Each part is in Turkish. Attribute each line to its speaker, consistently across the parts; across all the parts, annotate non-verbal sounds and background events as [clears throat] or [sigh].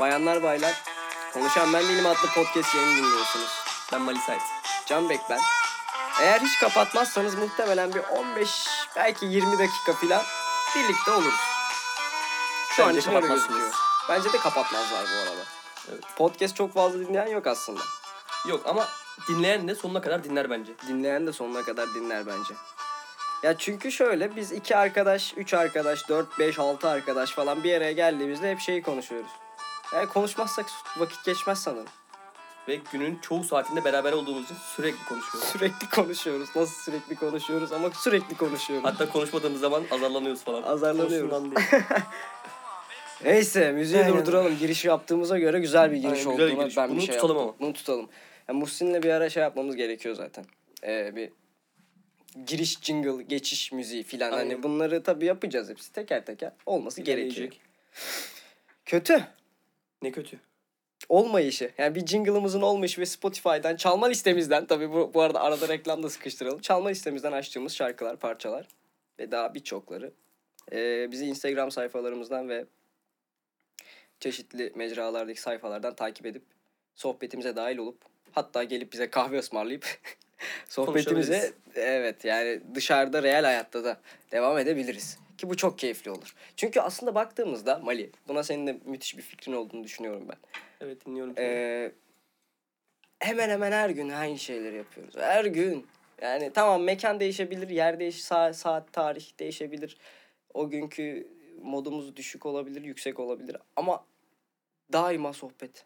Speaker 1: Bayanlar baylar, Konuşan Ben Değilim adlı podcast yayını dinliyorsunuz. Ben Mali Sait, Can Bek ben. Eğer hiç kapatmazsanız muhtemelen bir 15 belki 20 dakika filan birlikte oluruz. Şu an
Speaker 2: Bence
Speaker 1: için öyle
Speaker 2: kapatmazsınız.
Speaker 1: gözüküyor. Bence de kapatmazlar bu arada.
Speaker 2: Evet.
Speaker 1: Podcast çok fazla dinleyen yok aslında.
Speaker 2: Yok ama dinleyen de sonuna kadar dinler bence.
Speaker 1: Dinleyen de sonuna kadar dinler bence. Ya çünkü şöyle biz iki arkadaş, üç arkadaş, dört, beş, altı arkadaş falan bir araya geldiğimizde hep şeyi konuşuyoruz. Yani konuşmazsak vakit geçmez sanırım.
Speaker 2: Ve günün çoğu saatinde beraber olduğumuz için sürekli konuşuyoruz.
Speaker 1: Sürekli konuşuyoruz. Nasıl sürekli konuşuyoruz ama sürekli konuşuyoruz.
Speaker 2: Hatta konuşmadığımız zaman azarlanıyoruz falan.
Speaker 1: Azarlanıyoruz.
Speaker 2: Konuşsundan diye.
Speaker 1: Neyse müziği
Speaker 2: Aynen.
Speaker 1: durduralım. Girişi yaptığımıza göre güzel bir giriş
Speaker 2: Aynen,
Speaker 1: oldu.
Speaker 2: güzel bir giriş.
Speaker 1: Ben bir
Speaker 2: Bunu
Speaker 1: şey
Speaker 2: tutalım
Speaker 1: yaptım. Bunu tutalım. Ya Muhsin'le bir ara şey yapmamız gerekiyor zaten. Ee, bir giriş jingle, geçiş müziği filan. Hani
Speaker 2: Aynen.
Speaker 1: bunları tabii yapacağız hepsi teker teker. Olması gerekiyor.
Speaker 2: Gelecek.
Speaker 1: Kötü.
Speaker 2: Ne kötü.
Speaker 1: Olmayışı. Yani bir jingle'ımızın olmayışı ve Spotify'dan çalma listemizden tabii bu, bu arada arada reklam da sıkıştıralım. Çalma listemizden açtığımız şarkılar, parçalar ve daha birçokları. Ee, bizi Instagram sayfalarımızdan ve çeşitli mecralardaki sayfalardan takip edip sohbetimize dahil olup hatta gelip bize kahve ısmarlayıp [laughs] sohbetimize
Speaker 2: Konuşabiliriz.
Speaker 1: evet yani dışarıda real hayatta da devam edebiliriz. Ki bu çok keyifli olur. Çünkü aslında baktığımızda Mali buna senin de müthiş bir fikrin olduğunu düşünüyorum ben.
Speaker 2: Evet dinliyorum. seni.
Speaker 1: Ee, hemen hemen her gün aynı şeyleri yapıyoruz. Her gün. Yani tamam mekan değişebilir, yer değiş, saat, saat, tarih değişebilir. O günkü modumuz düşük olabilir, yüksek olabilir. Ama daima sohbet.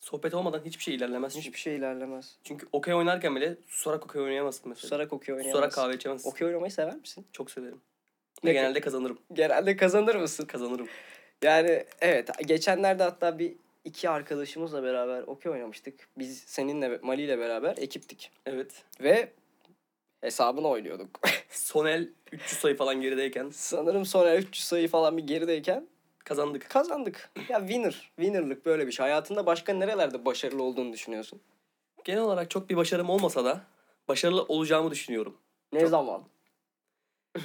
Speaker 2: Sohbet olmadan hiçbir şey ilerlemez.
Speaker 1: Hiçbir şey ilerlemez.
Speaker 2: Çünkü okey oynarken bile susarak okey oynayamazsın mesela.
Speaker 1: Susarak okey oynayamazsın.
Speaker 2: Susarak kahve içemezsin.
Speaker 1: Okey oynamayı sever misin?
Speaker 2: Çok severim. Ve
Speaker 1: Ne-
Speaker 2: genelde kazanırım.
Speaker 1: Genelde kazanır mısın?
Speaker 2: Kazanırım.
Speaker 1: Yani evet geçenlerde hatta bir iki arkadaşımızla beraber okey oynamıştık. Biz seninle Mali ile beraber ekiptik.
Speaker 2: Evet.
Speaker 1: Ve hesabını oynuyorduk.
Speaker 2: Sonel 300 sayı falan gerideyken
Speaker 1: Sanırım sonra 300 sayı falan bir gerideyken
Speaker 2: kazandık.
Speaker 1: kazandık. Ya winner, winnerlık böyle bir şey. Hayatında başka nerelerde başarılı olduğunu düşünüyorsun?
Speaker 2: Genel olarak çok bir başarım olmasa da başarılı
Speaker 1: [laughs]
Speaker 2: olacağımı düşünüyorum.
Speaker 1: Ne
Speaker 2: Çok-
Speaker 1: zaman?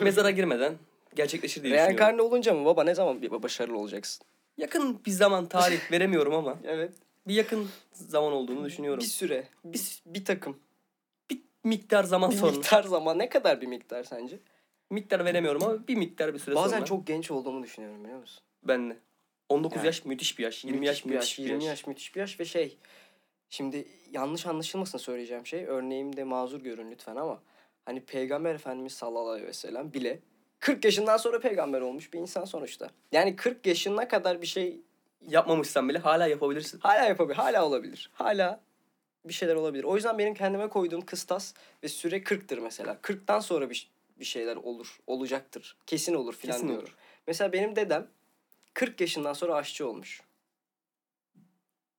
Speaker 2: Mezara girmeden gerçekleşir diye düşünüyorum.
Speaker 1: Reenkarne olunca mı baba ne zaman bir başarılı olacaksın?
Speaker 2: Yakın bir zaman
Speaker 1: [laughs]
Speaker 2: tarih veremiyorum ama
Speaker 1: Evet.
Speaker 2: bir yakın zaman olduğunu düşünüyorum.
Speaker 1: Bir süre, bir, bir takım,
Speaker 2: miktar zaman
Speaker 1: bir
Speaker 2: sonra. Miktar.
Speaker 1: miktar zaman. Ne kadar bir miktar sence?
Speaker 2: veremiyorum ama bir miktar bir süre
Speaker 1: Bazen
Speaker 2: sonra.
Speaker 1: çok genç olduğumu düşünüyorum biliyor musun?
Speaker 2: Benle. 19
Speaker 1: Yani.
Speaker 2: yaş müthiş bir yaş. 20 yaş
Speaker 1: bir
Speaker 2: müthiş bir
Speaker 1: 20
Speaker 2: yaş.
Speaker 1: yaş müthiş bir yaş ve şey. Şimdi yanlış anlaşılmasın söyleyeceğim şey. Örneğim de mazur görün lütfen ama hani Peygamber Efendimiz sallallahu aleyhi ve sellem bile 40 yaşından sonra peygamber olmuş bir insan sonuçta. Yani 40 yaşına kadar bir şey
Speaker 2: Yapmamışsan bile hala yapabilirsin.
Speaker 1: hala yapabilir, hala olabilir. Hala bir şeyler olabilir. O yüzden benim kendime koyduğum kıstas ve süre 40'tır mesela. 40'tan sonra bir, bir şeyler olur, olacaktır. Kesin olur filan
Speaker 2: Kesin
Speaker 1: diyorum.
Speaker 2: olur.
Speaker 1: Mesela benim dedem 40 yaşından sonra aşçı olmuş.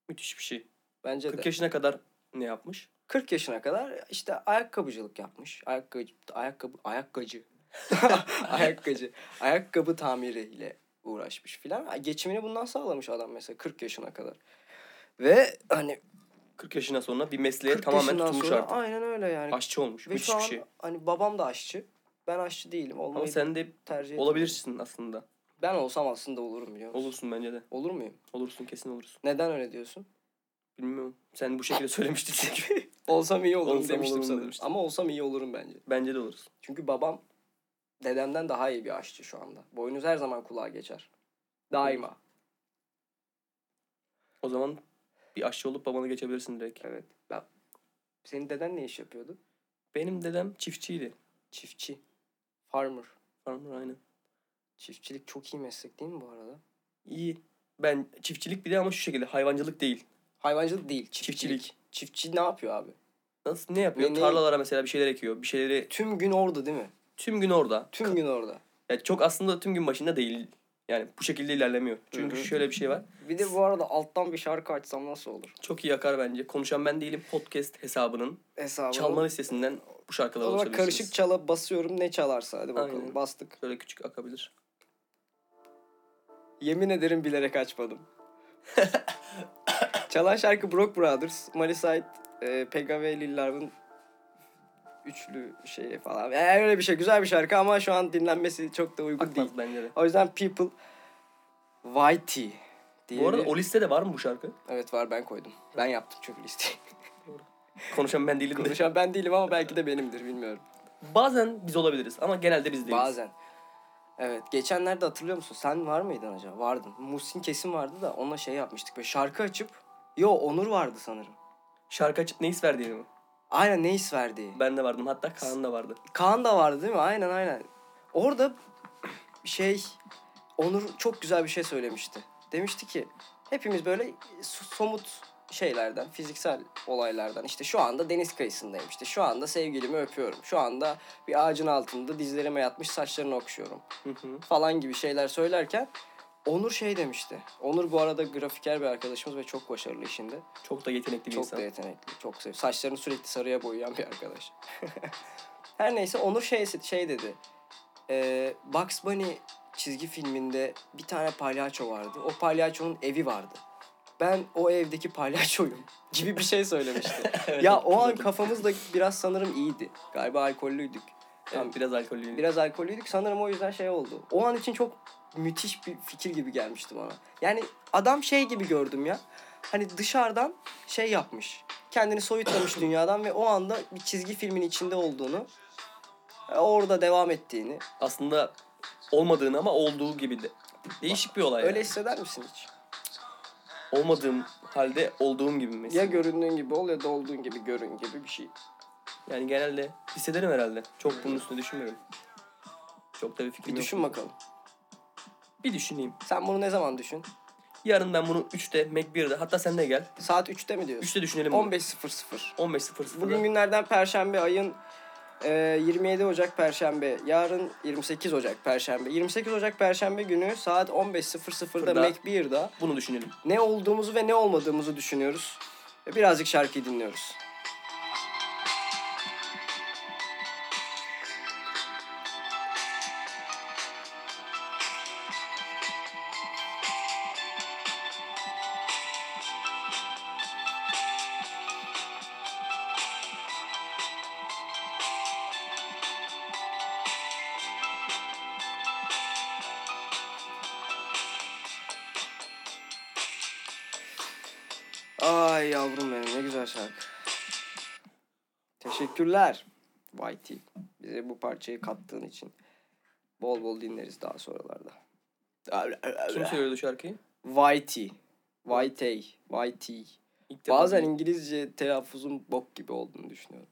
Speaker 2: Müthiş bir şey.
Speaker 1: Bence de.
Speaker 2: 40 yaşına kadar ne yapmış?
Speaker 1: 40 yaşına kadar işte ayakkabıcılık yapmış. Ayakkabı ayakkabı
Speaker 2: [laughs]
Speaker 1: ayakkacı. ayakkacı. Ayakkabı tamiriyle uğraşmış filan. Geçimini bundan sağlamış adam mesela 40 yaşına kadar. Ve hani
Speaker 2: 40 yaşından sonra bir mesleğe
Speaker 1: 40
Speaker 2: tamamen
Speaker 1: yaşından
Speaker 2: tutulmuş
Speaker 1: sonra
Speaker 2: artık.
Speaker 1: aynen öyle yani.
Speaker 2: Aşçı olmuş.
Speaker 1: Ve
Speaker 2: müthiş
Speaker 1: şu
Speaker 2: bir
Speaker 1: an
Speaker 2: şey.
Speaker 1: hani babam da aşçı. Ben aşçı değilim. Olmayı
Speaker 2: Ama sen de
Speaker 1: tercih etmiyorum.
Speaker 2: olabilirsin aslında.
Speaker 1: Ben olsam aslında olurum biliyor musun?
Speaker 2: Olursun bence de.
Speaker 1: Olur muyum?
Speaker 2: Olursun kesin olursun.
Speaker 1: Neden öyle diyorsun?
Speaker 2: Bilmiyorum. Sen bu şekilde
Speaker 1: [laughs]
Speaker 2: söylemiştin çünkü.
Speaker 1: Olsam iyi olurum
Speaker 2: Olsam
Speaker 1: demiştim
Speaker 2: olurum
Speaker 1: sanırım.
Speaker 2: demiştin.
Speaker 1: Ama olsam iyi olurum bence.
Speaker 2: bence de olursun.
Speaker 1: Çünkü babam dedemden daha iyi bir aşçı şu anda. Boynuz her zaman kulağa geçer. Daima.
Speaker 2: O zaman bir aşçı olup babana geçebilirsin direkt.
Speaker 1: Evet. Ben... Senin deden ne iş yapıyordu?
Speaker 2: Benim dedem çiftçiydi.
Speaker 1: Çiftçi. Farmer.
Speaker 2: Farmer aynı.
Speaker 1: Çiftçilik çok iyi meslek değil mi bu arada?
Speaker 2: İyi. Ben çiftçilik bir de ama şu şekilde hayvancılık değil.
Speaker 1: Hayvancılık değil. Çiftçilik.
Speaker 2: Çiftçilik.
Speaker 1: Çiftçi ne yapıyor abi?
Speaker 2: Nasıl ne yapıyor?
Speaker 1: Ne- ne-
Speaker 2: Tarlalara mesela bir şeyler ekiyor. Bir şeyleri
Speaker 1: Tüm gün orada değil mi?
Speaker 2: tüm gün orada.
Speaker 1: Tüm gün orada.
Speaker 2: Yani çok aslında tüm gün başında değil. Yani bu şekilde ilerlemiyor. Çünkü
Speaker 1: Hı hı.
Speaker 2: şöyle bir şey var.
Speaker 1: Bir de bu arada alttan bir şarkı açsam nasıl olur?
Speaker 2: Çok iyi akar bence. Konuşan ben değilim podcast hesabının
Speaker 1: Hesabı.
Speaker 2: çalma listesinden bu şarkılara
Speaker 1: O zaman
Speaker 2: ulaşabilirsiniz.
Speaker 1: karışık çala basıyorum ne çalarsa hadi bakalım.
Speaker 2: Aynen.
Speaker 1: Bastık.
Speaker 2: Şöyle küçük akabilir.
Speaker 1: Yemin ederim bilerek açmadım. [laughs] Çalan şarkı Brock Brothers, Mali Said, e, Pega ve Lillar'ın üçlü şeyi falan. Yani öyle bir şey. Güzel bir şarkı ama şu an dinlenmesi çok da uygun değil.
Speaker 2: Akmaz bence de.
Speaker 1: O yüzden People, YT. diye
Speaker 2: Bu arada
Speaker 1: bir-
Speaker 2: o listede var mı bu şarkı?
Speaker 1: Evet var ben koydum. Ben yaptım çünkü
Speaker 2: [laughs]
Speaker 1: listeyi.
Speaker 2: Konuşan ben değilim de.
Speaker 1: Konuşan ben değilim ama belki de benimdir bilmiyorum.
Speaker 2: Bazen biz olabiliriz ama genelde biz değiliz.
Speaker 1: Bazen. Evet geçenlerde hatırlıyor musun? Sen var mıydın acaba? Vardın. Muhsin kesin vardı da onunla şey yapmıştık. Böyle şarkı açıp. Yo Onur vardı sanırım.
Speaker 2: Şarkı açıp ne his verdiğini mi?
Speaker 1: Aynen ne his verdi.
Speaker 2: Ben de vardım hatta Kaan da vardı.
Speaker 1: Kaan da vardı değil mi? Aynen aynen. Orada şey Onur çok güzel bir şey söylemişti. Demişti ki hepimiz böyle so- somut şeylerden, fiziksel olaylardan işte şu anda deniz kıyısındayım işte şu anda sevgilimi öpüyorum. Şu anda bir ağacın altında dizlerime yatmış saçlarını okşuyorum
Speaker 2: Hı hı.
Speaker 1: falan gibi şeyler söylerken Onur şey demişti. Onur bu arada grafiker bir arkadaşımız ve çok başarılı işinde.
Speaker 2: Çok da yetenekli bir
Speaker 1: Çok
Speaker 2: [laughs] insan.
Speaker 1: da yetenekli. Çok sev. Saçlarını sürekli sarıya boyayan bir arkadaş. [laughs] Her neyse Onur şey, şey dedi. Ee, Bugs Bunny çizgi filminde bir tane palyaço vardı. O palyaçonun evi vardı. Ben o evdeki palyaçoyum [laughs] gibi bir şey söylemişti.
Speaker 2: [laughs] Evet,
Speaker 1: ya o an
Speaker 2: hatırladım.
Speaker 1: kafamız da biraz sanırım iyiydi. Galiba alkollüydük.
Speaker 2: Evet, biraz alkollüyüm.
Speaker 1: Biraz alkollüydük sanırım o yüzden şey oldu. O an için çok müthiş bir fikir gibi gelmişti bana. Yani adam şey gibi gördüm ya. Hani dışarıdan şey yapmış. Kendini [coughs] soyutlamış dünyadan ve o anda bir çizgi filmin içinde olduğunu e, orada devam ettiğini.
Speaker 2: Aslında olmadığını ama olduğu gibi de. Değişik bir olay.
Speaker 1: Öyle
Speaker 2: Öyle
Speaker 1: hisseder misin hiç?
Speaker 2: olmadığım halde olduğum gibi mesela.
Speaker 1: Ya göründüğün gibi ol ya da olduğun gibi görün gibi bir şey.
Speaker 2: Yani genelde hissederim herhalde. Çok bunun üstüne düşünmüyorum. Çok da bir fikrim
Speaker 1: Bir
Speaker 2: yok.
Speaker 1: düşün bakalım.
Speaker 2: Bir düşüneyim.
Speaker 1: Sen bunu ne zaman düşün?
Speaker 2: Yarın ben bunu 3'te, Mac 1'de hatta sen de gel.
Speaker 1: Saat 3'te mi diyorsun?
Speaker 2: 3'te düşünelim bunu.
Speaker 1: 15.00.
Speaker 2: 15.00'da.
Speaker 1: Bugün günlerden Perşembe ayın e, 27 Ocak Perşembe. Yarın 28 Ocak Perşembe. 28 Ocak Perşembe günü saat 15.00'da
Speaker 2: Burada.
Speaker 1: Mac1'da
Speaker 2: Bunu düşünelim.
Speaker 1: ne olduğumuzu ve ne olmadığımızı düşünüyoruz. Ve birazcık şarkıyı dinliyoruz. Ay yavrum benim ne güzel şarkı. Teşekkürler Whitey. Bize bu parçayı kattığın için. Bol bol dinleriz daha sonralarda.
Speaker 2: Kim söylüyordu şarkıyı?
Speaker 1: Whitey. Whitey. Whitey.
Speaker 2: İlk defa
Speaker 1: Bazen
Speaker 2: duydum.
Speaker 1: İngilizce telaffuzun bok gibi olduğunu düşünüyorum.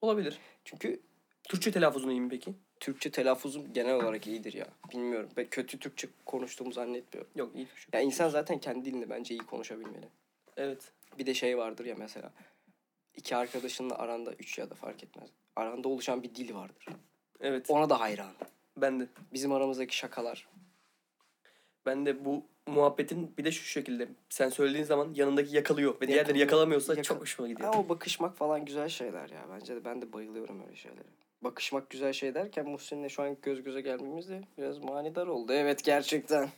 Speaker 2: olabilir.
Speaker 1: Çünkü
Speaker 2: Türkçe telaffuzunu iyi mi peki?
Speaker 1: Türkçe telaffuzum genel olarak iyidir ya. Bilmiyorum. Ben kötü Türkçe konuştuğumu zannetmiyorum.
Speaker 2: Yok iyi Türkçe.
Speaker 1: Ya insan zaten kendi dilini bence iyi konuşabilmeli.
Speaker 2: Evet.
Speaker 1: Bir de şey vardır ya mesela. iki arkadaşınla aranda üç ya da fark etmez. Aranda oluşan bir dil vardır.
Speaker 2: Evet.
Speaker 1: Ona da hayran.
Speaker 2: Ben de.
Speaker 1: Bizim aramızdaki şakalar.
Speaker 2: Ben de bu muhabbetin bir de şu şekilde. Sen söylediğin zaman yanındaki yakalıyor ve diğerleri
Speaker 1: Yakalıyor,
Speaker 2: yakalamıyorsa
Speaker 1: yakal-
Speaker 2: çok hoşuma gidiyor.
Speaker 1: Ha, o bakışmak falan güzel şeyler ya. Bence de ben de bayılıyorum öyle şeylere. Bakışmak güzel şey derken Muhsin'le şu an göz göze gelmemiz de biraz manidar oldu. Evet gerçekten.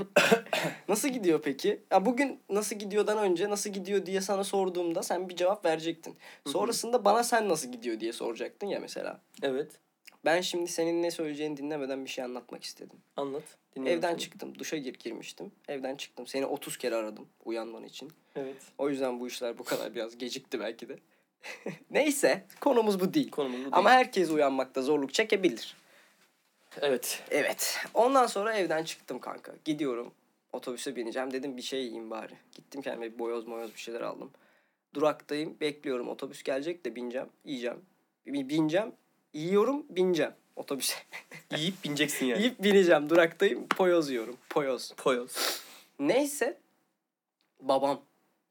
Speaker 1: [laughs] nasıl gidiyor peki? Ya bugün nasıl gidiyordan önce nasıl gidiyor diye sana sorduğumda sen bir cevap verecektin.
Speaker 2: hı.
Speaker 1: Sonrasında bana sen nasıl gidiyor diye soracaktın ya mesela.
Speaker 2: Evet.
Speaker 1: Ben şimdi senin ne söyleyeceğini dinlemeden bir şey anlatmak istedim.
Speaker 2: Anlat. Dinliyorum
Speaker 1: Evden
Speaker 2: seni.
Speaker 1: çıktım, duşa gir girmiştim. Evden çıktım. Seni 30 kere aradım uyanman için.
Speaker 2: Evet.
Speaker 1: O yüzden bu işler bu kadar biraz gecikti belki de. [laughs] Neyse konumuz bu değil.
Speaker 2: Konumuz bu
Speaker 1: Ama
Speaker 2: değil.
Speaker 1: herkes uyanmakta zorluk çekebilir.
Speaker 2: Evet.
Speaker 1: Evet. Ondan sonra evden çıktım kanka. Gidiyorum. Otobüse bineceğim. Dedim bir şey yiyeyim bari. Gittim kendime bir boyoz moyoz bir şeyler aldım. Duraktayım. Bekliyorum. Otobüs gelecek de bineceğim. Yiyeceğim. Bi- Bineceğim. Yiyorum. Bineceğim. Otobüse.
Speaker 2: Yiyip bineceksin yani.
Speaker 1: Yiyip bineceğim. Duraktayım. Poyoz yiyorum. Poyoz.
Speaker 2: Poyoz.
Speaker 1: Neyse babam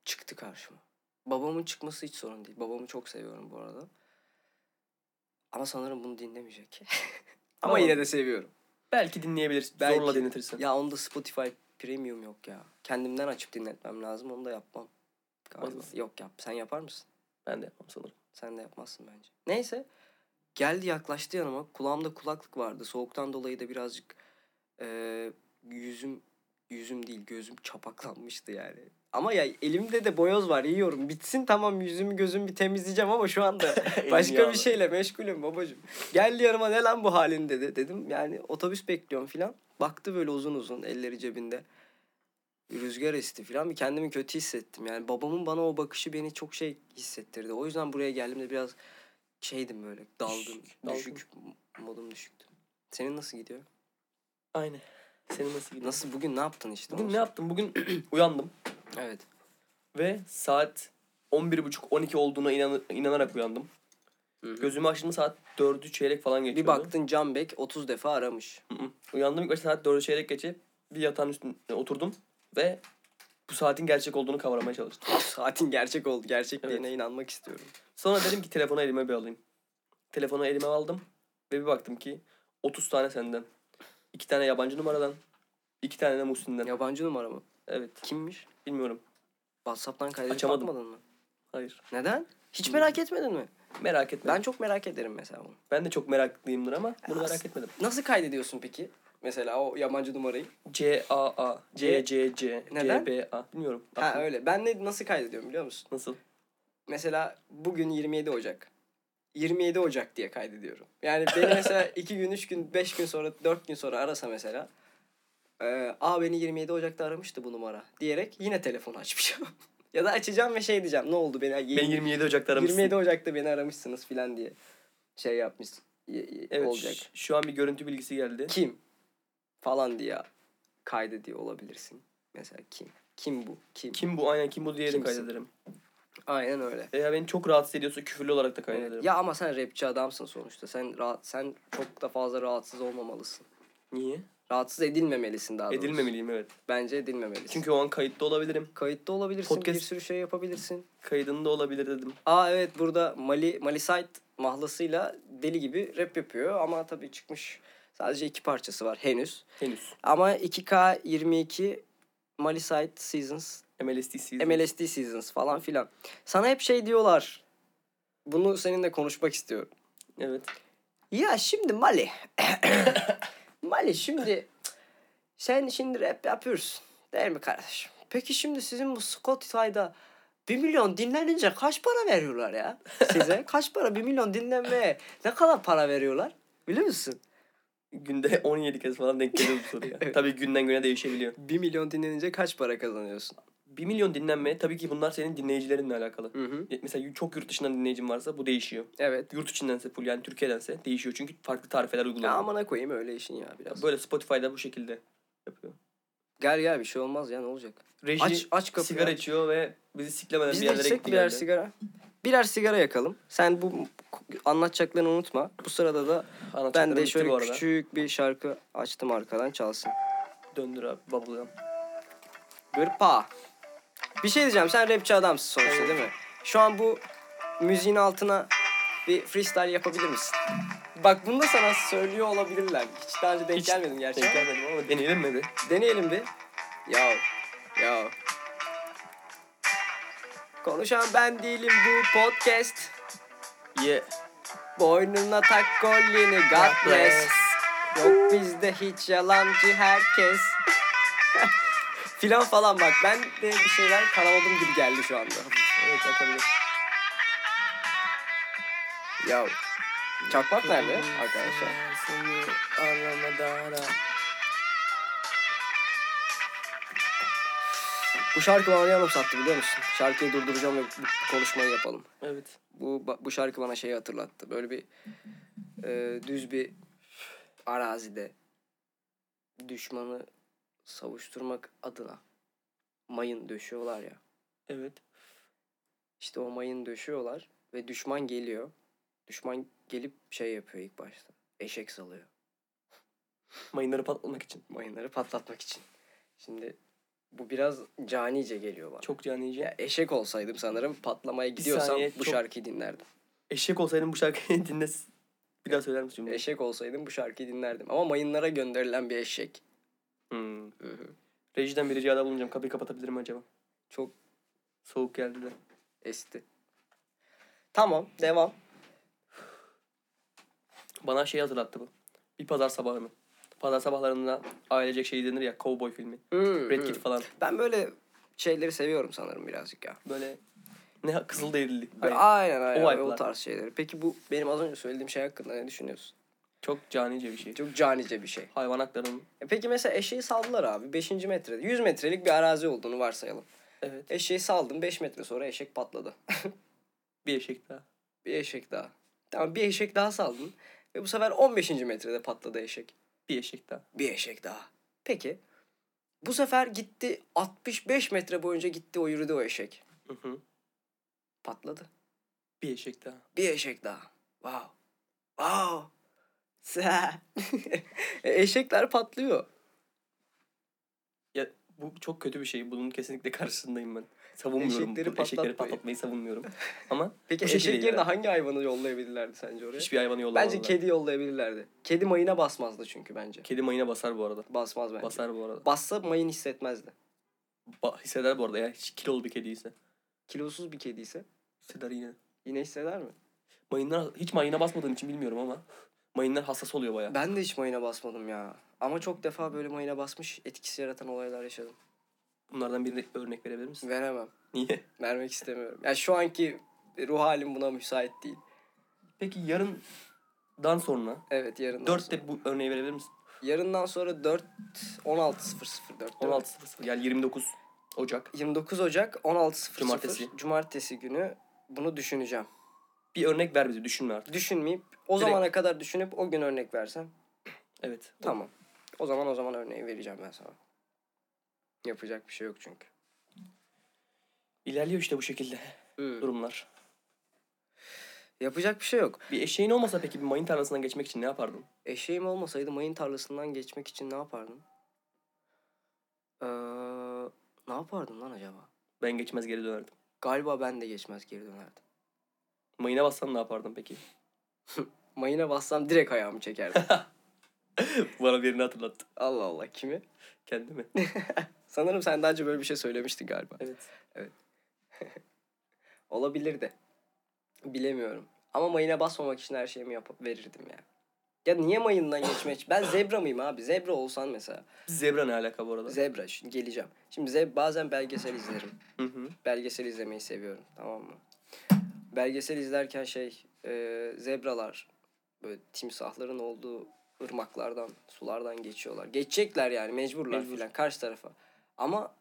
Speaker 1: çıktı karşıma. Babamın çıkması hiç sorun değil. Babamı çok seviyorum bu arada. Ama sanırım bunu dinlemeyecek. [laughs] Ama
Speaker 2: Tamam.
Speaker 1: yine de seviyorum.
Speaker 2: Belki dinleyebilirsin.
Speaker 1: Belki.
Speaker 2: Zorla denetirsin.
Speaker 1: Ya onda Spotify Premium yok ya. Kendimden açıp dinletmem lazım. Onu da yapmam. Galiba.
Speaker 2: Yapmaz mısın?
Speaker 1: Yok yap. Sen yapar mısın?
Speaker 2: Ben de
Speaker 1: [laughs]
Speaker 2: yapmam sanırım.
Speaker 1: Sen de yapmazsın bence. Neyse. Geldi yaklaştı yanıma. Kulağımda kulaklık vardı. Soğuktan dolayı da birazcık eee, yüzüm yüzüm değil gözüm çapaklanmıştı yani. Ama ya elimde de boyoz var yiyorum. Bitsin tamam yüzümü gözümü bir temizleyeceğim ama şu anda başka bir
Speaker 2: yağlı.
Speaker 1: şeyle meşgulüm babacığım. Geldi yanıma ne lan bu halin dedi. Dedim yani otobüs bekliyorum filan. Baktı böyle uzun uzun elleri cebinde. rüzgar esti falan bir kendimi kötü hissettim. Yani babamın bana o bakışı beni çok şey hissettirdi. O yüzden buraya geldiğimde biraz şeydim böyle daldım.
Speaker 2: Düşük, dalgın.
Speaker 1: Düşük. Modum düşüktü. Senin nasıl gidiyor?
Speaker 2: Aynen. Senin nasıl gidiyor?
Speaker 1: Nasıl bugün ne yaptın işte?
Speaker 2: Bugün ne yaptım? Bugün [clears throat] uyandım
Speaker 1: Evet.
Speaker 2: ve saat 11.30-12 olduğuna inan- inanarak uyandım.
Speaker 1: Hı hı.
Speaker 2: Gözümü açtığımda saat 4'ü çeyrek falan geçiyordu.
Speaker 1: Bir baktın Canbek 30 defa aramış. [laughs]
Speaker 2: Hı hı. Uyandım ilk başta saat 4'ü çeyrek geçe bir yatağın üstüne oturdum ve bu saatin gerçek olduğunu kavramaya çalıştım.
Speaker 1: Saatin gerçek oldu. Gerçekliğine inanmak istiyorum.
Speaker 2: Sonra dedim ki telefonu elime bir alayım. Telefonu elime aldım ve bir baktım ki 30 tane senden, 2 tane yabancı numaradan, 2 tane de Muhsin'den.
Speaker 1: Yabancı numara mı?
Speaker 2: Evet,
Speaker 1: Kimmiş?
Speaker 2: bilmiyorum.
Speaker 1: WhatsApp'tan kaydedip
Speaker 2: Açamadım. Hmm.
Speaker 1: bakmadın mı?
Speaker 2: Hayır.
Speaker 1: Neden? Hiç merak etmedin mi?
Speaker 2: Merak etme.
Speaker 1: Ben
Speaker 2: Ben,
Speaker 1: çok merak ederim mesela bunu.
Speaker 2: de çok meraklıyımdır ama bunu merak
Speaker 1: Aslında-
Speaker 2: etmedim.
Speaker 1: Nasıl kaydediyorsun peki? Mesela o yabancı numarayı.
Speaker 2: C A A C C C
Speaker 1: Neden?
Speaker 2: C B A bilmiyorum.
Speaker 1: Ha öyle. Ben ne, nasıl kaydediyorum biliyor musun?
Speaker 2: Nasıl?
Speaker 1: Mesela bugün 27 Ocak. 27 Ocak diye kaydediyorum. Yani beni
Speaker 2: [laughs]
Speaker 1: mesela 2 gün, 3 gün, 5 gün sonra, 4 gün sonra arasa mesela. eee Aa beni 27 Ocak'ta aramıştı bu numara diyerek yine telefonu açmayacağım. [laughs] ya da açacağım ve şey diyeceğim. Ne oldu beni?
Speaker 2: Ben 27 Ocak'ta aramışsın.
Speaker 1: 27 Ocak'ta beni aramışsınız filan diye şey yapmış
Speaker 2: evet,
Speaker 1: evet. olacak.
Speaker 2: ş- Şu an bir görüntü bilgisi geldi.
Speaker 1: Kim falan diye kaydediyor olabilirsin. Mesela kim? Kim bu? Kim?
Speaker 2: Kim bu? Aynen kim bu diye de
Speaker 1: Kimsin?
Speaker 2: kaydederim.
Speaker 1: Aynen öyle.
Speaker 2: Eğer beni çok rahatsız ediyorsa küfürlü olarak da kaydederim.
Speaker 1: Ya ama sen rapçi adamsın sonuçta. Sen rahat sen çok da fazla rahatsız olmamalısın.
Speaker 2: Niye?
Speaker 1: Rahatsız edilmemelisin daha doğrusu.
Speaker 2: Edilmemeliyim evet.
Speaker 1: Bence edilmemelisin. Çünkü
Speaker 2: Çünkü o an kayıtta olabilirim.
Speaker 1: kayıtta olabilirsin,
Speaker 2: Podcast-
Speaker 1: bir sürü şey yapabilirsin.
Speaker 2: Kaydında olabilir dedim.
Speaker 1: Aa evet burada Mali Mali Sait mahlasıyla deli gibi rap yapıyor ama tabii çıkmış sadece iki parçası var henüz.
Speaker 2: Henüz.
Speaker 1: Ama 2K 22 Mali Sait Seasons
Speaker 2: MLST season.
Speaker 1: MLSD Seasons falan filan. Sana hep şey diyorlar. Bunu seninle konuşmak istiyorum.
Speaker 2: Evet.
Speaker 1: Ya şimdi Mali. [coughs] Mali şimdi sen şimdi rap yapıyorsun. Değil mi kardeşim? Peki şimdi sizin bu Spotify'da 1 milyon dinlenince kaç para veriyorlar ya [laughs] size? kaç para 1 milyon dinlenmeye ne kadar para veriyorlar? Biliyor musun?
Speaker 2: Günde [laughs] 17 kez falan denk geliyor bu soruya.
Speaker 1: [laughs] Evet.
Speaker 2: Tabii günden güne değişebiliyor.
Speaker 1: 1 milyon dinlenince kaç para kazanıyorsun?
Speaker 2: 1 milyon dinlenme tabii ki bunlar senin dinleyicilerinle alakalı.
Speaker 1: Hı hı.
Speaker 2: Mesela çok yurt dışından dinleyicin varsa bu değişiyor.
Speaker 1: Evet.
Speaker 2: Yurt içindense full yani Türkiye'dense değişiyor. Çünkü farklı tarifeler
Speaker 1: Ya
Speaker 2: uygulanıyor.
Speaker 1: amına koyayım öyle işin ya biraz.
Speaker 2: Böyle Spotify'da bu şekilde yapıyor.
Speaker 1: Gel ya bir şey olmaz ya ne olacak?
Speaker 2: Reji
Speaker 1: Aç aç kapıyı.
Speaker 2: sigara içiyor ve bizi siklemeden
Speaker 1: Biz
Speaker 2: bir
Speaker 1: de
Speaker 2: yerlere
Speaker 1: içsek
Speaker 2: gitti
Speaker 1: birer
Speaker 2: geldi.
Speaker 1: sigara. Birer sigara yakalım. Sen bu anlatacaklarını unutma. Bu sırada da ben
Speaker 2: Anlatacaklarım
Speaker 1: de
Speaker 2: bitti bu
Speaker 1: şöyle
Speaker 2: arada.
Speaker 1: küçük bir şarkı açtım arkadan çalsın.
Speaker 2: Döndür abi babalıyorum.
Speaker 1: Bir pa. Bir şey diyeceğim. Sen rapçi adamsın sonuçta değil mi? Şu an bu müziğin altına bir freestyle yapabilir misin? Bak bunu da sana söylüyor olabilirler. Hiç daha önce denk
Speaker 2: Hiç
Speaker 1: gelmedim gerçi.
Speaker 2: Denk gelmedim ama deneyelim mi bir?
Speaker 1: Deneyelim bir. Yav. Yav. Konuşan ben değilim bu podcast.
Speaker 2: Yeah.
Speaker 1: Boynuna tak kolyeni God bless. Yok bizde hiç yalancı herkes. [laughs] Filan falan bak ben de bir şeyler karaladım gibi geldi şu anda.
Speaker 2: Evet atabilir.
Speaker 1: Ya çakmak nerede arkadaşlar?
Speaker 2: Seni aramadan ara.
Speaker 1: Bu şarkı bana yarım sattı biliyor musun? Şarkıyı durduracağım ve bu konuşmayı yapalım.
Speaker 2: Evet.
Speaker 1: Bu bu şarkı bana şeyi hatırlattı. Böyle bir e, düz bir arazide düşmanı savuşturmak adına mayın döşüyorlar ya.
Speaker 2: Evet.
Speaker 1: İşte o mayın döşüyorlar ve düşman geliyor. Düşman gelip şey yapıyor ilk başta. Eşek salıyor.
Speaker 2: Mayınları patlatmak için.
Speaker 1: Mayınları patlatmak için. Şimdi bu biraz canice geliyor bana.
Speaker 2: Çok canice.
Speaker 1: Ya eşek olsaydım sanırım patlamaya gidiyorsam
Speaker 2: saniye,
Speaker 1: bu
Speaker 2: çok-
Speaker 1: şarkıyı dinlerdim.
Speaker 2: Eşek olsaydım bu şarkıyı [laughs] dinles. Bir daha söyler misin cümleyi?
Speaker 1: Eşek olsaydım bu şarkıyı dinlerdim. Ama mayınlara gönderilen bir eşek.
Speaker 2: Hmm. Rejiden bir ricada bulunacağım. Kapıyı kapatabilir mi acaba?
Speaker 1: Çok
Speaker 2: Soğuk geldi de.
Speaker 1: esti. Tamam devam.
Speaker 2: Bana şey hatırlattı bu. Bir pazar sabahını. Pazar sabahlarında ailecek şey denir ya. Cowboy filmi.
Speaker 1: Hmm,
Speaker 2: Red
Speaker 1: hmm.
Speaker 2: Kit falan.
Speaker 1: Ben böyle şeyleri seviyorum sanırım birazcık ya.
Speaker 2: Böyle ne kızıl derili.
Speaker 1: Aynen aynen
Speaker 2: O
Speaker 1: o,
Speaker 2: vibe'lar.
Speaker 1: tarz şeyleri. Peki bu benim az önce söylediğim şey hakkında ne düşünüyorsun?
Speaker 2: Çok canice bir şey.
Speaker 1: Çok canice bir şey.
Speaker 2: Hayvan haklarının
Speaker 1: E peki mesela eşeği saldılar abi 5. metrede. 100 metrelik bir arazi olduğunu varsayalım.
Speaker 2: evet
Speaker 1: Eşeği saldın 5 metre sonra eşek patladı.
Speaker 2: bir eşek daha.
Speaker 1: bir eşek daha. Tamam bir eşek daha saldın ve bu sefer 15. metrede patladı eşek.
Speaker 2: Bir eşek daha.
Speaker 1: Bir eşek daha. Peki bu sefer gitti 65 metre boyunca gitti o yürüdü o eşek.
Speaker 2: Hı hı.
Speaker 1: Patladı.
Speaker 2: Bir eşek daha.
Speaker 1: Bir eşek daha. Wow. Wow. Sen. [laughs] E, Eşekler patlıyor.
Speaker 2: Ya bu çok kötü bir şey. Bunun kesinlikle karşısındayım ben. Savunmuyorum.
Speaker 1: Eşekleri
Speaker 2: Eşekleri, eşekleri
Speaker 1: patlatmayı.
Speaker 2: patlatmayı savunmuyorum.
Speaker 1: [laughs]
Speaker 2: Ama
Speaker 1: Peki
Speaker 2: Bu
Speaker 1: eşek
Speaker 2: şekilde
Speaker 1: yerine
Speaker 2: ilerler.
Speaker 1: hangi hayvanı yollayabilirlerdi sence oraya?
Speaker 2: hiçbir hayvanı
Speaker 1: Bence
Speaker 2: yollamazlar.
Speaker 1: kedi yollayabilirlerdi. Kedi mayına basmazdı çünkü bence.
Speaker 2: Kedi mayına basar bu arada.
Speaker 1: Basmaz bence.
Speaker 2: Basar bu arada.
Speaker 1: Bassa mayın hissetmezdi.
Speaker 2: Ba- hisseder bu arada ya. Hiç kilolu bir kediyse.
Speaker 1: Kilosuz bir kedi ise
Speaker 2: Hisseder yine.
Speaker 1: yine hisseder mi?
Speaker 2: Mayınlar, hiç mayına basmadığım için bilmiyorum ama mayınlar hassas oluyor bayağı.
Speaker 1: Ben de hiç mayına basmadım ya. Ama çok defa böyle mayına basmış etkisi yaratan olaylar yaşadım.
Speaker 2: Bunlardan birine örnek verebilir misin?
Speaker 1: Veremem.
Speaker 2: Niye?
Speaker 1: Vermek istemiyorum. Ya şu anki ruh halim buna müsait değil.
Speaker 2: Peki yarından sonra
Speaker 1: Evet yarından sonra.
Speaker 2: dörtte bu örneği verebilir misin?
Speaker 1: Yarından sonra 4 16.00 4
Speaker 2: 16.00 yani 29 Ocak.
Speaker 1: 29 Ocak 16.00
Speaker 2: Cumartesi.
Speaker 1: Cumartesi günü bunu düşüneceğim.
Speaker 2: Bir örnek ver bize düşünme artık.
Speaker 1: Düşünmeyip o
Speaker 2: Direkt.
Speaker 1: zamana kadar düşünüp o gün örnek versem
Speaker 2: Evet.
Speaker 1: Tamam. O zaman o zaman örneği vereceğim ben sana. Yapacak bir şey yok çünkü.
Speaker 2: İlerliyor işte bu şekilde Hmm. durumlar.
Speaker 1: Yapacak bir şey yok.
Speaker 2: Bir eşeğin olmasa peki bir mayın tarlasından geçmek için ne yapardın?
Speaker 1: Eşeğim olmasaydı mayın tarlasından geçmek için ne yapardım? Ee, ne yapardım lan acaba?
Speaker 2: Ben geçmez geri dönerdim.
Speaker 1: Galiba ben de geçmez geri dönerdim.
Speaker 2: Mayına bassan ne yapardın peki? [laughs]
Speaker 1: Mayına bassam direkt ayağımı çekerdim.
Speaker 2: Bana birini hatırlattı.
Speaker 1: Allah Allah kimi? [laughs]
Speaker 2: Kendimi.
Speaker 1: Sanırım sen daha önce böyle bir şey söylemiştin galiba.
Speaker 2: evet.
Speaker 1: Olabilir de. Bilemiyorum. Ama mayına basmamak için her şeyimi yapıp verirdim ya. Ya niye mayından geçmeye... Ben zebra mıyım abi? Zebra olsan mesela.
Speaker 2: Zebra ne alaka bu arada?
Speaker 1: Zebra şimdi geleceğim. Şimdi ze- bazen belgesel izlerim.
Speaker 2: Hı hı.
Speaker 1: Belgesel izlemeyi seviyorum tamam mı? Belgesel izlerken şey e, zebralar böyle timsahların olduğu ırmaklardan sulardan geçiyorlar. Geçecekler yani mecburlar
Speaker 2: Mecbur.
Speaker 1: filan karşı tarafa. Ama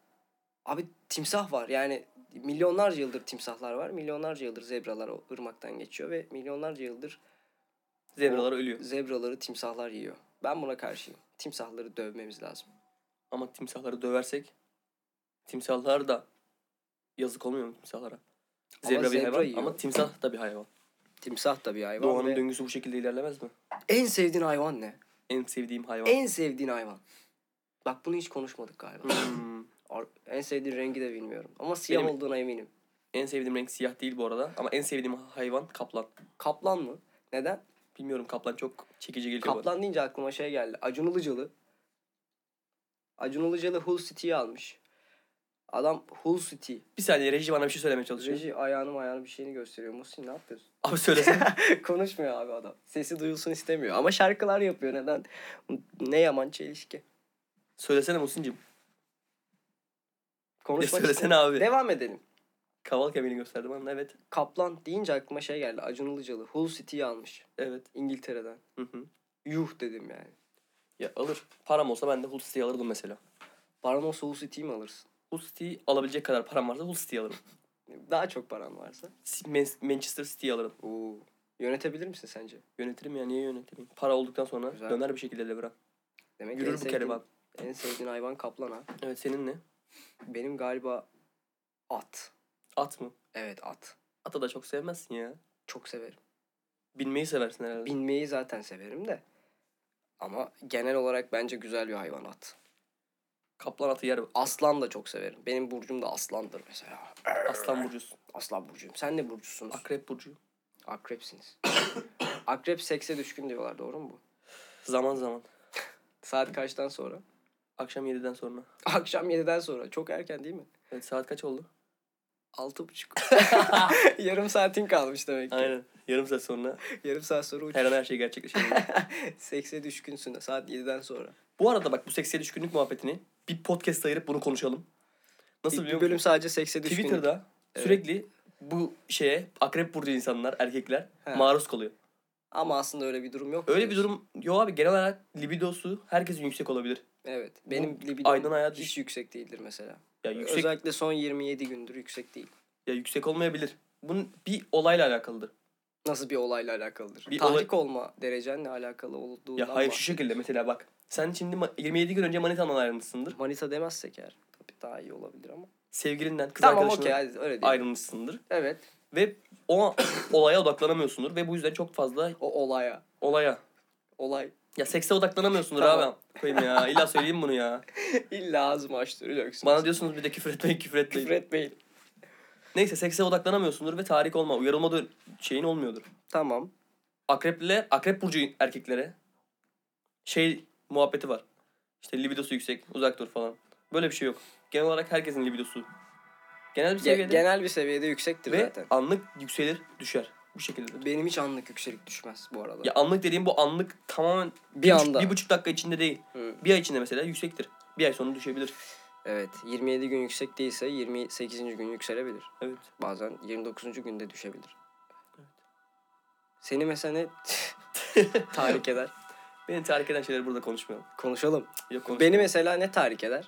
Speaker 1: abi timsah var yani milyonlarca yıldır timsahlar var. Milyonlarca yıldır zebralar o ırmaktan geçiyor ve milyonlarca yıldır
Speaker 2: Zebralar ölüyor.
Speaker 1: zebraları timsahlar yiyor. Ben buna karşıyım. Timsahları dövmemiz lazım.
Speaker 2: Ama timsahları döversek timsahlar da yazık olmuyor mu timsahlara?
Speaker 1: Ama
Speaker 2: Zebra bir
Speaker 1: zebra
Speaker 2: hayvan
Speaker 1: yiyor.
Speaker 2: ama timsah da bir hayvan.
Speaker 1: Timsah da bir hayvan.
Speaker 2: Doğanın
Speaker 1: ve-
Speaker 2: döngüsü bu şekilde ilerlemez mi?
Speaker 1: En sevdiğin hayvan ne?
Speaker 2: En sevdiğim hayvan.
Speaker 1: En sevdiğin hayvan. Bak bunu hiç konuşmadık galiba.
Speaker 2: Hmm.
Speaker 1: Ar- en sevdiğin rengi de bilmiyorum. Ama siyah
Speaker 2: Benim-
Speaker 1: olduğuna eminim.
Speaker 2: En sevdiğim renk siyah değil bu arada ama en sevdiğim hayvan kaplan.
Speaker 1: Kaplan mı? Neden?
Speaker 2: Bilmiyorum kaplan çok çekici geliyor bana.
Speaker 1: Kaplan deyince aklıma şey geldi. Acun Ilıcalı. Acun Ilıcalı Hull City'yi almış. Adam Hull City.
Speaker 2: Bir saniye reji bana bir şey söylemeye çalışıyor.
Speaker 1: Reji ayağını ayağını bir şeyini gösteriyor. Muhsin ne yapıyorsun? [laughs]
Speaker 2: Abi söylesene.
Speaker 1: Konuşmuyor abi adam. Sesi duyulsun istemiyor. Ama şarkılar yapıyor. Neden? Ne yaman çelişki.
Speaker 2: söylesene Muhsin'cim. Ya
Speaker 1: Konuşmak
Speaker 2: söylesene
Speaker 1: istemiyor.
Speaker 2: abi.
Speaker 1: Devam edelim.
Speaker 2: Kaval kemiğini gösterdi bana. Evet.
Speaker 1: Kaplan deyince aklıma şey geldi. Acun Ilıcalı Hull City'yi almış.
Speaker 2: Evet.
Speaker 1: İngiltere'den.
Speaker 2: Hı hı.
Speaker 1: Yuh dedim yani.
Speaker 2: Ya alır. Param olsa ben de Hull City'yi alırdım mesela.
Speaker 1: Paranoz Hull City'yi mi alırsın?
Speaker 2: Hull City'yi alabilecek kadar param varsa Hull City'yi alırım.
Speaker 1: Daha çok paran varsa.
Speaker 2: Si- Man- Manchester City'yi alırım.
Speaker 1: Oo. Yönetebilir misin sence?
Speaker 2: Yönetirim ya niye yönetimim? Para olduktan sonra
Speaker 1: Güzel.
Speaker 2: döner bir şekilde devran.
Speaker 1: Demek en
Speaker 2: Yürür bu
Speaker 1: sevdiğin-
Speaker 2: kervan.
Speaker 1: En sevdiğin hayvan kaplan ha.
Speaker 2: Evet senin ne?
Speaker 1: Benim galiba at.
Speaker 2: At mı?
Speaker 1: Evet at.
Speaker 2: Ata da çok sevmezsin ya.
Speaker 1: Çok severim.
Speaker 2: Binmeyi seversin herhalde.
Speaker 1: Binmeyi zaten severim de. Ama genel olarak bence güzel bir hayvan at.
Speaker 2: Kaplan atı yer.
Speaker 1: Aslan da çok severim. Benim burcum da aslandır mesela.
Speaker 2: Aslan burcusun.
Speaker 1: Aslan burcuyum. Sen ne burcusunuz?
Speaker 2: Akrep burcu.
Speaker 1: Akrepsiniz. [coughs] Akrep sekse düşkün diyorlar doğru mu bu?
Speaker 2: Zaman zaman.
Speaker 1: Saat kaçtan sonra? [laughs]
Speaker 2: Akşam 7'den sonra.
Speaker 1: Akşam 7'den sonra. Çok erken değil mi?
Speaker 2: Evet saat kaç oldu?
Speaker 1: Altı
Speaker 2: [laughs]
Speaker 1: buçuk. [laughs] Yarım saatin kalmış demek ki.
Speaker 2: Aynen. Yarım saat sonra
Speaker 1: Yarım saat sonra
Speaker 2: [laughs] her an
Speaker 1: uçuş.
Speaker 2: her şey gerçekleşebilir.
Speaker 1: Sekse düşkünsün de saat 7'den sonra.
Speaker 2: Bu arada bak bu seksiye düşkünlük muhabbetini bir podcast ayırıp bunu konuşalım. Nasıl
Speaker 1: Nasıl
Speaker 2: biliyor
Speaker 1: bir
Speaker 2: musun?
Speaker 1: bölüm sadece sekse düşkünlük.
Speaker 2: Twitter'da
Speaker 1: Evet.
Speaker 2: sürekli bu şeye akrep burcu insanlar, erkekler
Speaker 1: He.
Speaker 2: maruz kalıyor.
Speaker 1: Ama aslında öyle bir durum yok.
Speaker 2: Öyle bir durum yok abi genel olarak libidosu herkesin yüksek olabilir.
Speaker 1: Evet. Benim
Speaker 2: Bu
Speaker 1: libidom
Speaker 2: aydan aya
Speaker 1: hiç
Speaker 2: düş-
Speaker 1: yüksek değildir mesela.
Speaker 2: Ya yüksek
Speaker 1: Özellikle son 27 gündür yüksek değil.
Speaker 2: ya yüksek olmayabilir. Bunun bir olayla alakalıdır.
Speaker 1: Nasıl bir olayla alakalıdır?
Speaker 2: Bir
Speaker 1: Tahrik olma derecenle alakalı olduğundan
Speaker 2: Ya hayır
Speaker 1: bahsediyorum.
Speaker 2: şu şekilde mesela bak. Sen şimdi ma- 27 gün önce manitandan ayrılmışsındır.
Speaker 1: Manita demezsek eğer. Tabii daha iyi olabilir ama.
Speaker 2: Sevgilinden, kız
Speaker 1: tamam okey
Speaker 2: arkadaşından
Speaker 1: hadi öyle değil.
Speaker 2: ayrılmışsındır.
Speaker 1: Evet.
Speaker 2: Ve o [coughs] olaya odaklanamıyorsundur. Ve bu yüzden çok fazla
Speaker 1: O olaya.
Speaker 2: olaya.
Speaker 1: Olay. [laughs]
Speaker 2: Ya sekse odaklanamıyorsundur
Speaker 1: Tamam.
Speaker 2: abi. Koyayım ya. İlla söyleyeyim bunu ya.
Speaker 1: İlla ağzımı açtıracaksın.
Speaker 2: Bana diyorsunuz bir de küfür etmeyin küfür etmeyin.
Speaker 1: küfür etmeyin.
Speaker 2: Neyse sekse odaklanamıyorsundur ve tahrik olma. Uyarılma da şeyin olmuyordur.
Speaker 1: Tamam.
Speaker 2: Akrepliler, akrep burcu erkeklere şey muhabbeti var. İşte libidosu yüksek, uzak dur falan. Böyle bir şey yok. Genel olarak herkesin libidosu. Genel bir
Speaker 1: Ge-
Speaker 2: seviyede
Speaker 1: genel bir seviyede yüksektir
Speaker 2: ve
Speaker 1: zaten.
Speaker 2: anlık yükselir, düşer. Bu şekilde.
Speaker 1: Benim hiç anlık yükselik düşmez bu arada.
Speaker 2: Ya anlık dediğim bu anlık tamamen
Speaker 1: bir,
Speaker 2: bir, buçuk-
Speaker 1: anda.
Speaker 2: bir buçuk dakika içinde değil.
Speaker 1: Hı.
Speaker 2: Bir ay içinde mesela yüksektir. Bir ay sonra düşebilir.
Speaker 1: Evet. 27 gün yüksek değilse 28. gün yükselebilir.
Speaker 2: Evet.
Speaker 1: Bazen 29. günde düşebilir. Seni mesela
Speaker 2: [laughs]
Speaker 1: ne tahrik eder?
Speaker 2: Beni tahrik eden şeyleri burada konuşmayalım.
Speaker 1: Konuşalım.
Speaker 2: Yok konuşmayalım.
Speaker 1: Beni mesela ne tahrik eder?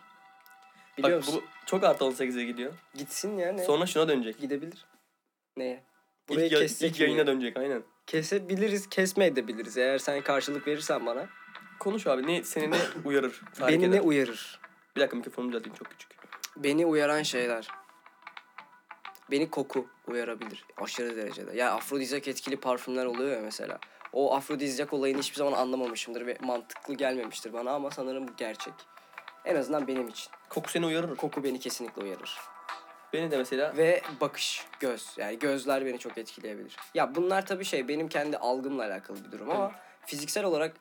Speaker 1: Biliyor
Speaker 2: Bak,
Speaker 1: musun?
Speaker 2: Bu çok artı 18'e gidiyor.
Speaker 1: Gitsin ya ne?
Speaker 2: Sonra şuna dönecek.
Speaker 1: Gidebilir. Neye? Burayı
Speaker 2: İlk, ya-
Speaker 1: kessek
Speaker 2: ilk yayına
Speaker 1: mi?
Speaker 2: dönecek aynen.
Speaker 1: Kesebiliriz, kesme edebiliriz. Eğer sen karşılık verirsen bana.
Speaker 2: Konuş abi ne
Speaker 1: [laughs]
Speaker 2: seni ne uyarır? tahrik
Speaker 1: beni
Speaker 2: eder?
Speaker 1: ne uyarır?
Speaker 2: Bir dakika mikrofonu düzelteyim çok küçük.
Speaker 1: Beni uyaran şeyler. Beni koku uyarabilir aşırı derecede. Yani afrodizyak etkili parfümler oluyor ya mesela. O afrodizyak olayını hiçbir zaman anlamamışımdır ve mantıklı gelmemiştir bana ama sanırım bu gerçek. En azından benim için.
Speaker 2: Koku seni uyarır.
Speaker 1: Koku beni kesinlikle uyarır.
Speaker 2: Beni de mesela
Speaker 1: Ve bakış, göz. Yani gözler beni çok etkileyebilir. Ya bunlar tabii şey benim kendi algımla alakalı bir durum ama fiziksel olarak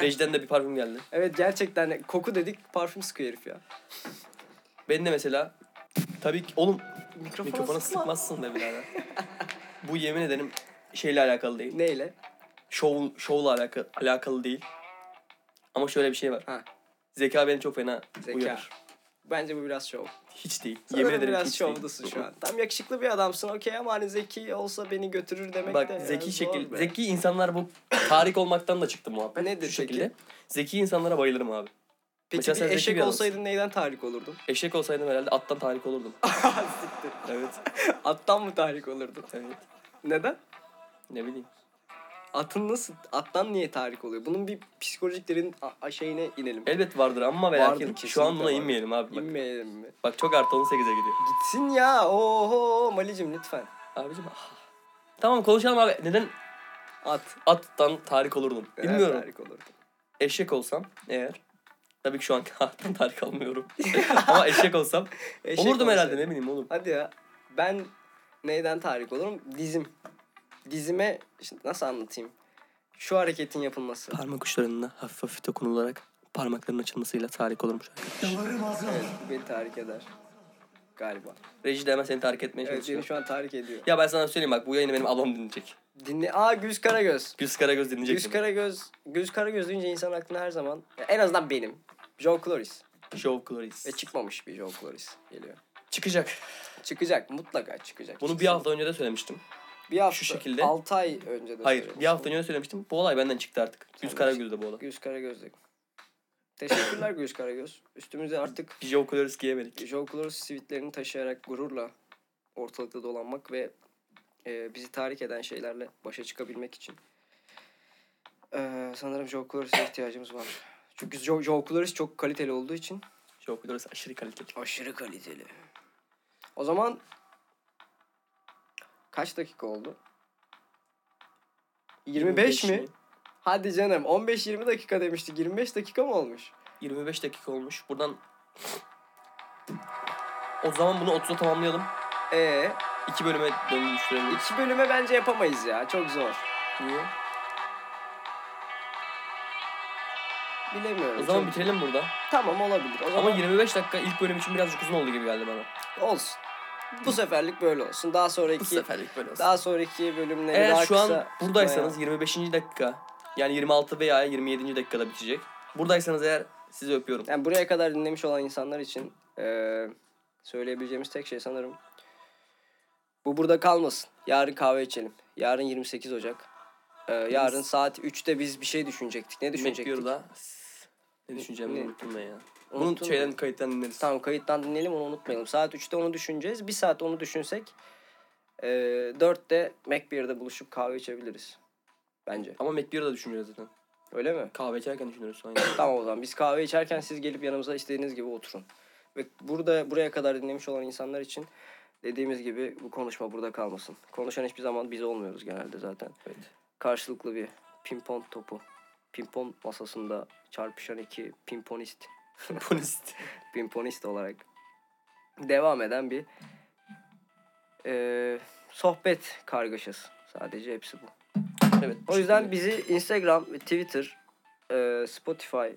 Speaker 2: Rejden de bir parfüm geldi.
Speaker 1: evet gerçekten de koku dedik parfüm sıkıyor herif ya.
Speaker 2: Beni de mesela tabii ki oğlum
Speaker 1: Mikrofona,
Speaker 2: mikrofona
Speaker 1: sıkma.
Speaker 2: sıkmazsın
Speaker 1: [laughs]
Speaker 2: da birader. Bu yemin ederim şeyle alakalı değil.
Speaker 1: Neyle?
Speaker 2: Şov, şovla alakalı, alakalı değil. Ama şöyle bir şey var.
Speaker 1: Ha.
Speaker 2: Zeka beni çok fena
Speaker 1: Zeka.
Speaker 2: uyarır.
Speaker 1: Bence bu biraz şov.
Speaker 2: Hiç değil.
Speaker 1: Sanırım
Speaker 2: yemin ederim
Speaker 1: biraz
Speaker 2: hiç
Speaker 1: şovdasın
Speaker 2: değil.
Speaker 1: şu an. Tam yakışıklı bir adamsın okey ama hani zeki olsa beni götürür demek de
Speaker 2: Bak
Speaker 1: ya,
Speaker 2: zeki
Speaker 1: zor
Speaker 2: şekil
Speaker 1: be.
Speaker 2: zeki insanlar bu tarih olmaktan da çıktı muhabbet.
Speaker 1: Nedir
Speaker 2: Şu
Speaker 1: zeki?
Speaker 2: şekilde. Zeki insanlara bayılırım abi.
Speaker 1: Peki
Speaker 2: Mesela sen
Speaker 1: bir
Speaker 2: zeki
Speaker 1: eşek
Speaker 2: bir adamsın.
Speaker 1: olsaydın neyden tahrik olurdun? [laughs]
Speaker 2: Eşek olsaydım herhalde attan tahrik olurdum.
Speaker 1: Siktir.
Speaker 2: evet.
Speaker 1: Attan mı tahrik olurdun?
Speaker 2: Evet.
Speaker 1: Neden?
Speaker 2: Ne bileyim.
Speaker 1: Atın nasıl? Attan niye tahrik oluyor? Bunun bir psikolojik derin a- a- şeyine inelim.
Speaker 2: Elbet vardır ama ve
Speaker 1: Vardır,
Speaker 2: lakin şu
Speaker 1: kesinlikle
Speaker 2: an buna
Speaker 1: vardır.
Speaker 2: inmeyelim abi. Bak,
Speaker 1: İnmeyelim mi?
Speaker 2: bak çok artı 18'e gidiyor.
Speaker 1: Gitsin ya. Oho Malicim lütfen.
Speaker 2: Abicim ah. Tamam konuşalım abi. Neden
Speaker 1: At.
Speaker 2: attan tarih olurdum?
Speaker 1: Neden
Speaker 2: Bilmiyorum.
Speaker 1: Tahrik olurdu.
Speaker 2: Eşek olsam eğer. Tabii ki şu an [laughs] attan tarih almıyorum. [laughs] ama eşek olsam
Speaker 1: Eşek
Speaker 2: olurdum herhalde
Speaker 1: olsaydın.
Speaker 2: ne bileyim oğlum.
Speaker 1: Hadi ya. Ben neyden tahrik olurum? Dizim. Dizime şimdi nasıl anlatayım? Şu hareketin yapılması.
Speaker 2: Parmak uçlarına hafif hafif dokunularak parmakların açılmasıyla tarih olurmuş.
Speaker 1: Evet, bu beni tahrik eder. Galiba.
Speaker 2: Reji de hemen seni tahrik etmeye
Speaker 1: Evet,
Speaker 2: çalışıyor.
Speaker 1: beni şu an tahrik ediyor.
Speaker 2: Ya ben sana söyleyeyim bak bu yayını benim ablam dinleyecek.
Speaker 1: Dinle. Aa Güz Karagöz.
Speaker 2: Güz Karagöz dinleyecek.
Speaker 1: Güz
Speaker 2: bunu.
Speaker 1: Karagöz. Güz Karagöz deyince insan aklına her zaman ya en azından benim. Joe Cloris.
Speaker 2: Show Glories.
Speaker 1: Ve çıkmamış bir Joe Cloris geliyor.
Speaker 2: Çıkacak.
Speaker 1: Çıkacak. Mutlaka çıkacak.
Speaker 2: Bunu bir
Speaker 1: Çıksın.
Speaker 2: hafta önce de söylemiştim.
Speaker 1: bir hafta,
Speaker 2: şu şekilde-
Speaker 1: 6 ay önce de
Speaker 2: Hayır
Speaker 1: söylemiştim.
Speaker 2: bir hafta önce de söylemiştim. Bu olay benden çıktı artık. Güz
Speaker 1: Sen
Speaker 2: Karagöz de bu olay.
Speaker 1: Güz Karagöz dedim. Teşekkürler Güz Karagöz. Üstümüze artık
Speaker 2: Biz Joe Glories giyemedik.
Speaker 1: Joe Cloris sivitlerini taşıyarak gururla ortalıkta dolanmak ve e, bizi tahrik eden şeylerle başa çıkabilmek için e, sanırım Joe Cloris'e ihtiyacımız var. Çünkü Joe, Joe Cloris çok kaliteli olduğu için.
Speaker 2: Joe Glories aşırı kaliteli.
Speaker 1: Aşırı kaliteli. O zaman kaç dakika oldu? 25, mi? Hadi canım 15-20 dakika demiştik. 25 dakika mı olmuş?
Speaker 2: 25 dakika olmuş. Buradan o zaman bunu 30'a tamamlayalım.
Speaker 1: Ee,
Speaker 2: İki bölüme dönüştürelim.
Speaker 1: iki bölüme bence yapamayız ya. Çok zor.
Speaker 2: Niye?
Speaker 1: Bilemiyorum.
Speaker 2: O zaman
Speaker 1: Çok-
Speaker 2: bitirelim burada.
Speaker 1: Tamam olabilir. O zaman
Speaker 2: Ama 25 dakika ilk bölüm için birazcık uzun oldu gibi geldi bana.
Speaker 1: olsun. Bu seferlik böyle olsun. Daha
Speaker 2: Bu
Speaker 1: sonraki
Speaker 2: seferlik böyle olsun.
Speaker 1: daha sonraki bölümleri daha
Speaker 2: Eğer şu
Speaker 1: kısa
Speaker 2: an buradaysanız
Speaker 1: tutmaya-
Speaker 2: 25. dakika yani 26 veya 27. dakikada bitecek. Buradaysanız eğer sizi öpüyorum.
Speaker 1: yani buraya kadar dinlemiş olan insanlar için eee, söyleyebileceğimiz tek şey sanırım bu burada kalmasın. Yarın kahve içelim. Yarın 28 Ocak. Ee, yarın saat 3'te biz bir şey düşünecektik. Ne düşünecektik?
Speaker 2: Düşünecektik. da. Ne düşüneceğimi
Speaker 1: Ne?
Speaker 2: unuttum ben ya. Bunun
Speaker 1: Unuttun mu?
Speaker 2: şeyden kayıttan dinleriz.
Speaker 1: Tamam kayıttan dinleyelim onu unutmayalım. Saat 3'te onu düşüneceğiz. Bir saat onu düşünsek e, 4'te Macbeer'de buluşup kahve içebiliriz. Bence.
Speaker 2: Ama McBeer'ı da düşüneceğiz zaten.
Speaker 1: Öyle mi?
Speaker 2: Kahve içerken
Speaker 1: [laughs]
Speaker 2: düşünürüz sonra.
Speaker 1: Tamam o zaman biz kahve içerken siz gelip yanımıza istediğiniz gibi oturun. Ve burada buraya kadar dinlemiş olan insanlar için dediğimiz gibi bu konuşma burada kalmasın. Konuşan hiçbir zaman biz olmuyoruz genelde zaten.
Speaker 2: Evet.
Speaker 1: Karşılıklı bir pimpon topu. Pimpon masasında çarpışan iki pimponist,
Speaker 2: Komponist.
Speaker 1: pimponist olarak devam eden bir eee, sohbet kargaşası. Sadece hepsi bu.
Speaker 2: evet.
Speaker 1: O yüzden bizi Instagram, ve Twitter, eee, Spotify,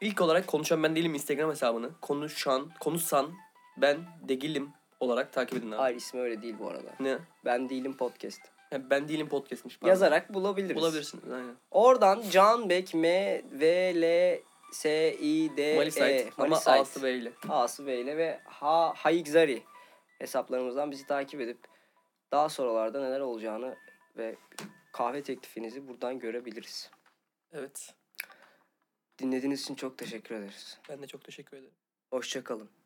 Speaker 2: ilk olarak konuşan ben değilim Instagram hesabını. Konuşan, konuşsan ben değilim olarak takip edin abi.
Speaker 1: Hayır ismi öyle değil bu arada.
Speaker 2: Ne?
Speaker 1: Ben değilim podcast.
Speaker 2: Ha, ben değilim podcast'miş. Pardon.
Speaker 1: Yazarak bulabiliriz.
Speaker 2: Bulabilirsiniz. Aynen.
Speaker 1: Oradan Can Bek M V L S I D E
Speaker 2: Malisite. ama
Speaker 1: Malisite.
Speaker 2: A'sı ve ile.
Speaker 1: A'sı V ile ve Ha Hayigzari hesaplarımızdan bizi takip edip daha sonralarda neler olacağını ve kahve teklifinizi buradan görebiliriz.
Speaker 2: Evet.
Speaker 1: Dinlediğiniz için çok teşekkür ederiz.
Speaker 2: Ben de çok teşekkür ederim.
Speaker 1: Hoşçakalın.